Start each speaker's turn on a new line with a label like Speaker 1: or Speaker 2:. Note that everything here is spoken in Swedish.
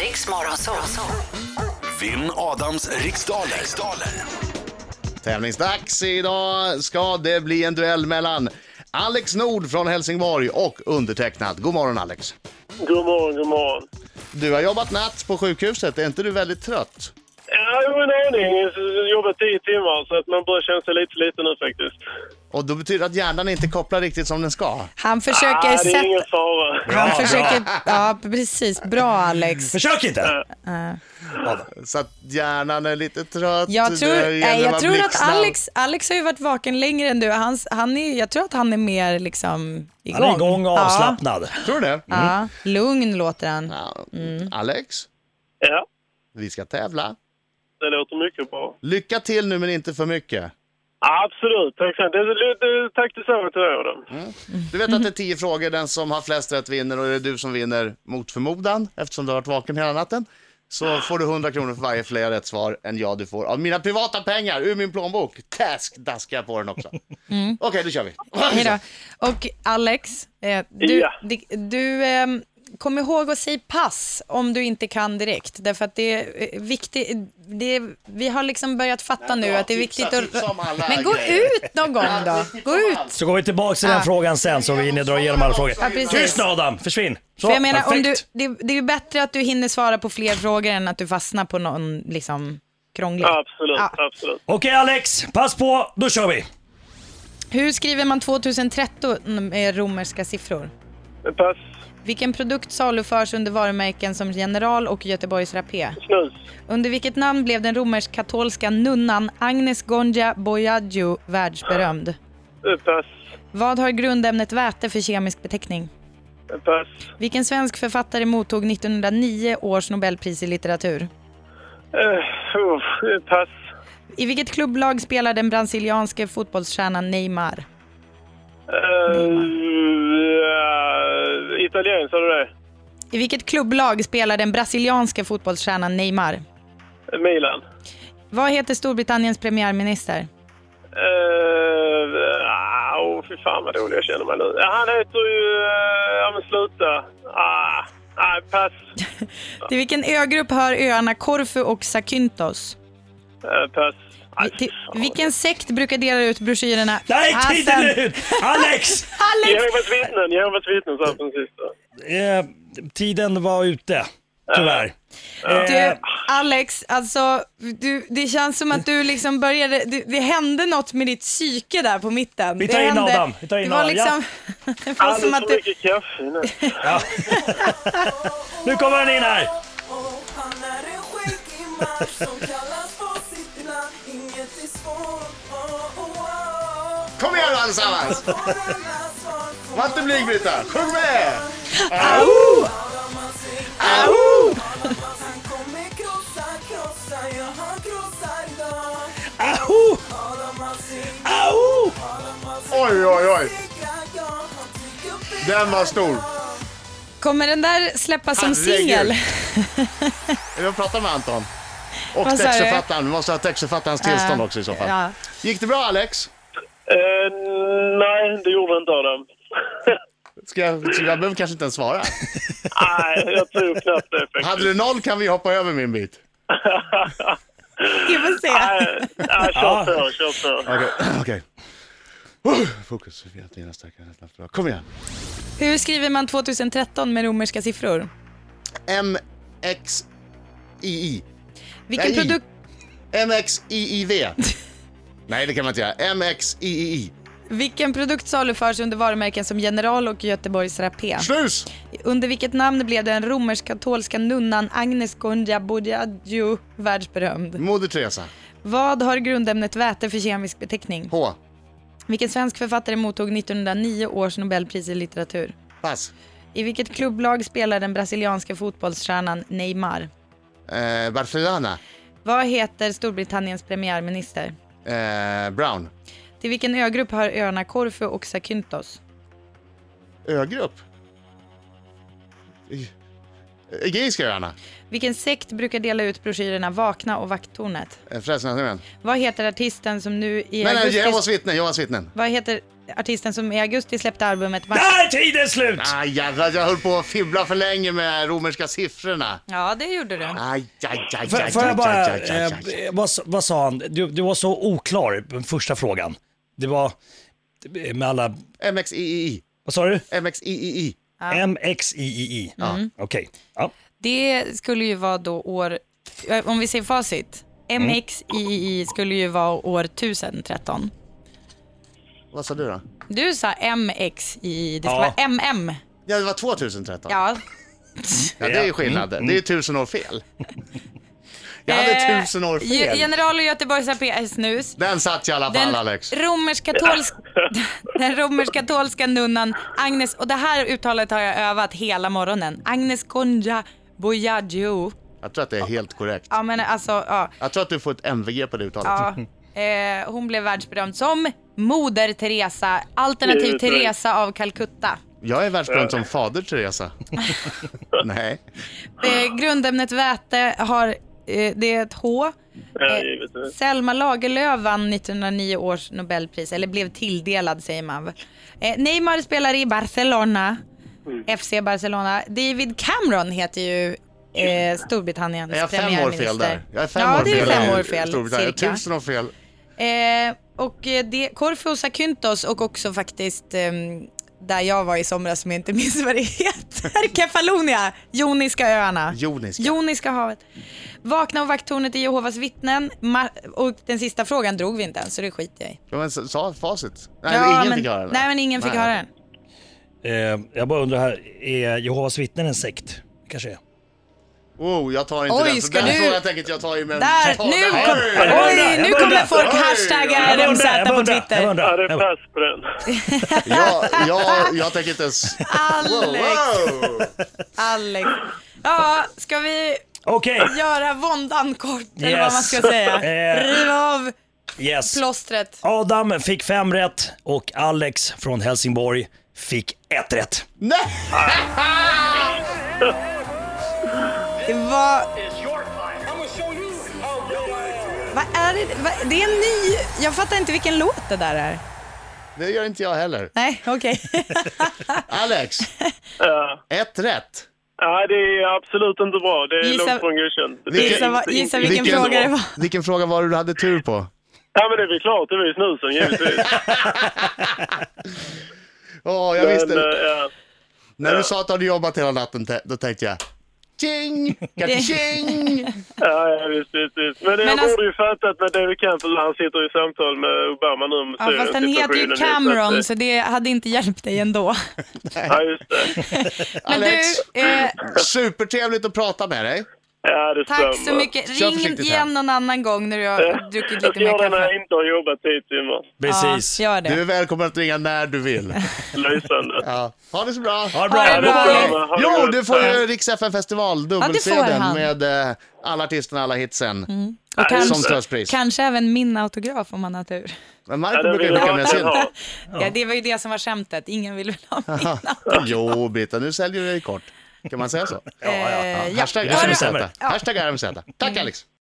Speaker 1: Riks Morgonzoo.
Speaker 2: Vinn Adams riksdaler. riksdaler.
Speaker 3: Tävlingsdags idag ska det bli en duell mellan Alex Nord från Helsingborg och undertecknad. God morgon Alex!
Speaker 4: God morgon, god morgon.
Speaker 3: Du har jobbat natt på sjukhuset, är inte du väldigt trött?
Speaker 4: Ja, jo, en aning. Jag jobbar tio timmar, så att man börjar känna sig lite liten nu faktiskt.
Speaker 3: Och då betyder det att hjärnan inte kopplar riktigt som den ska.
Speaker 5: Han försöker
Speaker 4: ah, det är ingen
Speaker 5: sätta...
Speaker 4: fara.
Speaker 5: Han försöker... Ja, precis. Bra Alex.
Speaker 3: Mm.
Speaker 6: Försök inte!
Speaker 3: Så att hjärnan är lite trött.
Speaker 5: Jag tror,
Speaker 3: det gäller
Speaker 5: nej, jag
Speaker 3: vara
Speaker 5: tror att
Speaker 3: blixtsnabb.
Speaker 5: Alex, Alex har ju varit vaken längre än du. Han, han är, jag tror att han är mer liksom igång.
Speaker 6: Han är igång och
Speaker 5: Ja.
Speaker 6: avslappnad.
Speaker 3: Tror du det?
Speaker 5: Ja, Mm. lugn låter han.
Speaker 3: Ja. Alex,
Speaker 4: Ja,
Speaker 3: vi ska tävla.
Speaker 4: det låter mycket bra.
Speaker 3: Lycka till nu men inte för mycket.
Speaker 4: Absolut, tack så mycket. Det är lite- Tack detsamma till er. då.
Speaker 5: Mm.
Speaker 3: Du vet
Speaker 5: Mhm.
Speaker 3: att det är tio frågor, den som har flest rätt vinner och är det du som vinner mot förmodan eftersom du har varit vaken hela natten så får du 100 kronor för varje fler rätt svar än jag du får av mina privata pengar ur min plånbok. Task daskar jag på den också. Okej, då kör vi.
Speaker 5: Mm. Hej då. Och Alex, eh, du,
Speaker 4: Ja.
Speaker 5: di- du ehm, kom ihåg att säga pass om du inte kan direkt. Därför att det är eh, viktigt. Det är, vi har liksom börjat fatta nu
Speaker 3: bra.
Speaker 5: att det är
Speaker 3: Tipsa-
Speaker 5: viktigt att...
Speaker 3: tipsa om alla
Speaker 5: Men gå
Speaker 3: grejer.
Speaker 5: ut någon gång då. Gå ut.
Speaker 6: Så går vi tillbaka till den
Speaker 5: Ah.
Speaker 6: frågan sen så vi hinner dra igenom alla frågor.
Speaker 3: Ja,
Speaker 5: precis.
Speaker 6: Tyst nu Adam, försvinn! Så,
Speaker 5: För jag menar, om du,
Speaker 6: perfekt.
Speaker 5: det, det är bättre att du hinner svara på fler frågor än att du fastnar på någon liksom, krånglig.
Speaker 4: Absolut,
Speaker 5: Ja.
Speaker 4: absolut.
Speaker 6: Okej Alex, pass på, då kör vi!
Speaker 5: Hur skriver man 2013 med romerska siffror?
Speaker 4: Pass,
Speaker 5: Vilken produkt saluförs under varumärken som General och Göteborgs Rapé?
Speaker 4: snus.
Speaker 5: Under vilket namn blev den romersk-katolska nunnan Agnes Gonja Boiadio världsberömd?
Speaker 4: Pass,
Speaker 5: Vad har grundämnet väte för kemisk beteckning?
Speaker 4: pass.
Speaker 5: Vilken svensk författare mottog 1909 års nobelpris i litteratur?
Speaker 4: Eh, oh, pass,
Speaker 5: I vilket klubblag spelar den brasilianske fotbollsstjärnan Neymar?
Speaker 4: Eh,
Speaker 5: Mm.
Speaker 4: ja, italienskt, sa du det?
Speaker 5: I vilket klubblag spelar den brasilianske fotbollsstjärnan Neymar?
Speaker 4: Milan.
Speaker 5: Vad heter Storbritanniens premiärminister?
Speaker 4: Eh, ah, Åh, fy fan vad dålig jag känner mig nu. Han heter ju... eh, Ja, men sluta. Ah, nej, pass.
Speaker 5: Till vilken ögrupp hör öarna Korfu och Zakynthos?
Speaker 4: Eh, pass. Ah,
Speaker 5: Vi- till- Vilken sekt brukar dela ut broschyrerna?
Speaker 6: Nej, tiden
Speaker 5: Hassan.
Speaker 6: är ut! Alex!
Speaker 5: Alex!
Speaker 4: Jehovas vittnen, Jehovas vittnen sa jag på den sista.
Speaker 5: Alltså,
Speaker 6: Eh, tiden var ute, tyvärr. Eh,
Speaker 5: Du, Alex, alltså, du, det känns som att du liksom började, det, det hände något med ditt psyke där på mitten.
Speaker 6: Vi tar
Speaker 5: det
Speaker 6: in
Speaker 5: hände,
Speaker 6: Adam, vi tar in
Speaker 5: det var
Speaker 6: Adam, ja.
Speaker 5: liksom, det var
Speaker 4: Alldeles
Speaker 5: som
Speaker 4: för
Speaker 5: att du,
Speaker 4: mycket kaffe. nej.
Speaker 6: Nu kommer han in här!
Speaker 7: Han är en skäggig man som kallas på sitt namn Inget är svårt, oh, oh, oh.
Speaker 3: Kom igen allesammans!
Speaker 7: Alla svar får
Speaker 3: Var inte blyg Brita, sjung med!
Speaker 7: man se
Speaker 3: Au!
Speaker 7: Han kommer krossa, krossa, ja han krossar idag
Speaker 6: Aho!
Speaker 7: Adam han segrar,
Speaker 6: Aho!
Speaker 3: Oj, oj, oj.
Speaker 7: ja han trycker upp
Speaker 3: Den var stor.
Speaker 5: kommer den där släppas som
Speaker 3: Herregud.
Speaker 5: singel?
Speaker 3: Jag vill prata med Anton. Och
Speaker 5: Vad sa du?
Speaker 3: textförfattaren, vi måste ha textförfattarens tillstånd
Speaker 5: Ja.
Speaker 3: också i så
Speaker 5: Eh, Ja.
Speaker 3: fall. Gick det bra Alex?
Speaker 4: Eh, nej, det gjorde inte Adam.
Speaker 3: Ska jag, så jag behöver kanske inte ens svara.
Speaker 4: nej, jag tror knappt det faktiskt.
Speaker 3: Hade du noll kan vi hoppa över min bit.
Speaker 5: Vi får se.
Speaker 4: Nej, nej, kör på, kör på.
Speaker 3: Okej. okej. Oh, Fokus. Vi har dina starka rätt snabbt bra. Kom igen.
Speaker 5: Hur skriver man 2013 med romerska siffror?
Speaker 3: MXII.
Speaker 5: Vilken
Speaker 3: Nej.
Speaker 5: produkt...
Speaker 3: MXIIV. Nej, det kan man inte göra. MXIII.
Speaker 5: Vilken produkt saluförs under varumärken som General och Göteborgs Rapé?
Speaker 3: Snus!
Speaker 5: Under vilket namn blev den romersk-katolska nunnan Agnes Gonja Bourdieu världsberömd?
Speaker 3: Moder Teresa.
Speaker 5: Vad har grundämnet väte för kemisk beteckning?
Speaker 3: H.
Speaker 5: Vilken svensk författare mottog 1909 års nobelpris i litteratur?
Speaker 3: Pass.
Speaker 5: I vilket klubblag spelar den brasilianska fotbollsstjärnan Neymar?
Speaker 3: Eh, Barcelona.
Speaker 5: Vad heter Storbritanniens premiärminister?
Speaker 3: Eh, Brown.
Speaker 5: Till vilken ögrupp hör öarna Korfu och Zakynthos?
Speaker 3: Ögrupp. I- Egeiska öarna.
Speaker 5: Vilken sekt brukar dela ut broschyrerna Vakna och Vakttornet?
Speaker 3: Eh, Frälsningsarmén.
Speaker 5: Vad heter artisten som nu i
Speaker 3: Nej, nej,
Speaker 5: augusti...
Speaker 3: Jehovas vittnen. Jehovas vittnen.
Speaker 5: Vad heter artisten som i augusti släppte albumet Mars.
Speaker 3: Ah!
Speaker 6: Där är tiden slut!
Speaker 3: Aj, jävlar, jag höll på att fibbla för länge med romerska siffrorna.
Speaker 5: Ja, det gjorde du.
Speaker 3: Aj, aj, aj, aj,
Speaker 6: Får,
Speaker 3: aj,
Speaker 6: får jag bara,
Speaker 3: aj, aj, aj, aj.
Speaker 6: eh, vad, s- vad sa han? Du, du var så oklar på den första frågan. Det var eh, med alla,
Speaker 3: MXIII.
Speaker 6: vad sa du?
Speaker 3: MXIII.
Speaker 6: MXIII. Okej. Ja.
Speaker 5: Det skulle ju vara då år, eh, om vi ser facit,
Speaker 3: Mm.
Speaker 5: MXII skulle ju vara år 1013.
Speaker 3: Vad sa du då?
Speaker 5: Du sa MXII, det skulle
Speaker 6: Ja.
Speaker 5: vara MM.
Speaker 3: Ja, det var 2013. Ja,
Speaker 5: Ja,
Speaker 3: det är ju skillnad.
Speaker 6: Mm.
Speaker 3: Det är ju tusen år fel. Jag hade
Speaker 5: Eh,
Speaker 3: tusen år
Speaker 5: Ge-
Speaker 3: fel.
Speaker 5: General och Göteborgs AP snus.
Speaker 3: Den satt i alla fall,
Speaker 5: Den
Speaker 3: Alex.
Speaker 5: romersk-katolska den romersk-katolska nunnan Agnes, och det här uttalet har jag övat hela morgonen. Agnes Gonja Boyaggio.
Speaker 3: Jag tror att det är helt korrekt.
Speaker 5: Ja men alltså, ja.
Speaker 3: Jag tror att du får ett MVG på det uttalet.
Speaker 5: ja. Eh, hon blev världsberömd som Moder Teresa, alternativ
Speaker 4: Givetvis.
Speaker 5: Teresa av Calcutta.
Speaker 3: Jag är världsberömd som fader Teresa. Nej.
Speaker 5: Eh, grundämnet väte har, eh, det är ett H.
Speaker 4: Ja,
Speaker 5: Eh,
Speaker 4: givetvis.
Speaker 5: Selma Lagerlöf vann 1909 års Nobelpris, eller blev tilldelad säger man väl. Eh, Neymar spelar i Barcelona,
Speaker 4: Mm.
Speaker 5: FC Barcelona. David Cameron heter ju eh, Storbritanniens
Speaker 3: Är jag fem år
Speaker 5: premiärminister.
Speaker 3: fel där? Jag är fem
Speaker 5: ja,
Speaker 3: år
Speaker 5: det är
Speaker 3: fel.
Speaker 5: fem år
Speaker 3: i Storbritannien.
Speaker 5: fel cirka.
Speaker 3: Tusen år fel.
Speaker 5: Eh, och eh, det, Corfu Sakyntos och också faktiskt ehm, där jag var i somras som jag inte minns vad det heter. Kefalonia, Joniska öarna.
Speaker 3: Joniska.
Speaker 5: Joniska havet. Vakna och vakttornet i Jehovas vittnen. Ma- och den sista frågan drog vi inte ens så det skiter jag i.
Speaker 3: Ja, men sa facit? Nej,
Speaker 5: Ja,
Speaker 3: ingen
Speaker 5: men,
Speaker 3: fick höra den.
Speaker 5: Nej men ingen fick
Speaker 3: Nej.
Speaker 5: höra den.
Speaker 6: Eh, jag bara undrar här, är Jehovas vittnen en sekt? kanske är.
Speaker 3: Oh, jag tar inte
Speaker 5: Oj,
Speaker 3: den. för
Speaker 5: ska
Speaker 3: den
Speaker 5: du-
Speaker 3: frågan tänker inte jag ta i med
Speaker 5: Där,
Speaker 3: Ta
Speaker 5: nu,
Speaker 3: den.
Speaker 5: kom,
Speaker 6: bara
Speaker 5: oj,
Speaker 6: undrar,
Speaker 5: nu
Speaker 6: jag bara
Speaker 5: kommer
Speaker 6: undrar.
Speaker 5: folk
Speaker 3: Oj,
Speaker 5: hashtagga
Speaker 6: bara
Speaker 5: RMZ
Speaker 6: undrar, jag bara
Speaker 5: på
Speaker 6: undrar, jag bara
Speaker 5: Twitter.
Speaker 6: undrar.
Speaker 4: Ja, det är pass på den.
Speaker 3: jag, jag, jag tänker inte ens... Wow,
Speaker 5: Alex,
Speaker 3: wow.
Speaker 5: Alex. Ja, ska vi
Speaker 6: Okej,
Speaker 5: göra våndan kort eller vad
Speaker 6: Yes.
Speaker 5: man ska säga.
Speaker 6: Eh.
Speaker 5: Riva av
Speaker 6: yes.
Speaker 5: plåstret.
Speaker 6: Adam fick fem rätt och Alex från Helsingborg fick ett rätt.
Speaker 3: Nej!
Speaker 5: Det var... Vad är det? Vad- Det är en ny... Jag fattar inte vilken låt det där är.
Speaker 3: Det gör inte jag heller.
Speaker 5: Nej, okej.
Speaker 3: Alex,
Speaker 4: Ja.
Speaker 3: ett rätt.
Speaker 4: Ja, det är absolut inte bra. Det är
Speaker 5: Gissa-
Speaker 4: långt från godkänt. Det är
Speaker 5: Gissa vad-
Speaker 4: inte-
Speaker 5: gissa
Speaker 4: inte-
Speaker 5: vilken
Speaker 4: inte
Speaker 5: fråga
Speaker 4: bra.
Speaker 5: det var.
Speaker 3: Vilken fråga var det du hade tur på?
Speaker 4: Ja, men det är väl klart. Det var ju snusen givetvis.
Speaker 3: Åh, jag
Speaker 4: Men,
Speaker 3: visste.
Speaker 4: eh, ja.
Speaker 3: När du sa att du hade jobbat hela natten, te- då tänkte jag... Tjing! Tjing!
Speaker 4: Ja, ja, visst, visst, visst. Men, jag
Speaker 5: alltså-
Speaker 4: borde ju fattat med David Campbell han sitter i samtal med Obama nu om
Speaker 5: Ja, fast den heter ju
Speaker 4: Syrien-situationen nu, så
Speaker 5: Cameron
Speaker 4: att, eh,
Speaker 5: så det hade inte hjälpt dig ändå.
Speaker 4: Ja, just det.
Speaker 5: Men
Speaker 3: Alex.
Speaker 5: du, eh,
Speaker 3: Supertrevligt att prata med dig.
Speaker 4: Ja, det
Speaker 5: tack så mycket.
Speaker 3: Kör
Speaker 5: Ring
Speaker 3: försiktigt här.
Speaker 5: igen någon annan gång när du har druckit
Speaker 4: Eh, Jag
Speaker 5: lite
Speaker 4: ska göra
Speaker 5: mer
Speaker 4: det när jag
Speaker 5: kaffe.
Speaker 4: inte har jobbat tio timmar.
Speaker 6: Precis.
Speaker 5: Ja, gör
Speaker 3: Du
Speaker 5: det.
Speaker 3: är välkommen att ringa när du vill.
Speaker 4: Lysande.
Speaker 3: Ja. Ha det så bra!
Speaker 6: Ha det
Speaker 5: Ha det
Speaker 6: bra.
Speaker 5: bra.
Speaker 4: bra. Ha det
Speaker 3: Jo,
Speaker 4: gott.
Speaker 3: du får ju Rix FM festival
Speaker 5: Ja, det får
Speaker 3: dubbelsedeln
Speaker 5: han. Mm.
Speaker 3: med eh, alla artisterna, alla hitsen.
Speaker 5: Och
Speaker 3: Som
Speaker 5: kanske,
Speaker 3: tröstpris.
Speaker 5: kanske även min autograf om man har tur.
Speaker 3: Men
Speaker 4: Ja,
Speaker 3: Marco
Speaker 4: det
Speaker 3: brukar
Speaker 4: vill
Speaker 3: ju
Speaker 4: jag
Speaker 3: skicka med sin.
Speaker 4: verkligen ha.
Speaker 5: Ja, det var ju det som var skämtet. Ingen vill väl ha min
Speaker 3: Jo, Britta, nu säljer du dig kort. Kan man säga så?
Speaker 5: Eh, ja. Mm.
Speaker 3: Hashtag
Speaker 6: det känns
Speaker 3: RMZ.
Speaker 6: sämre.
Speaker 3: Hashtag RMZ. Tack Alex.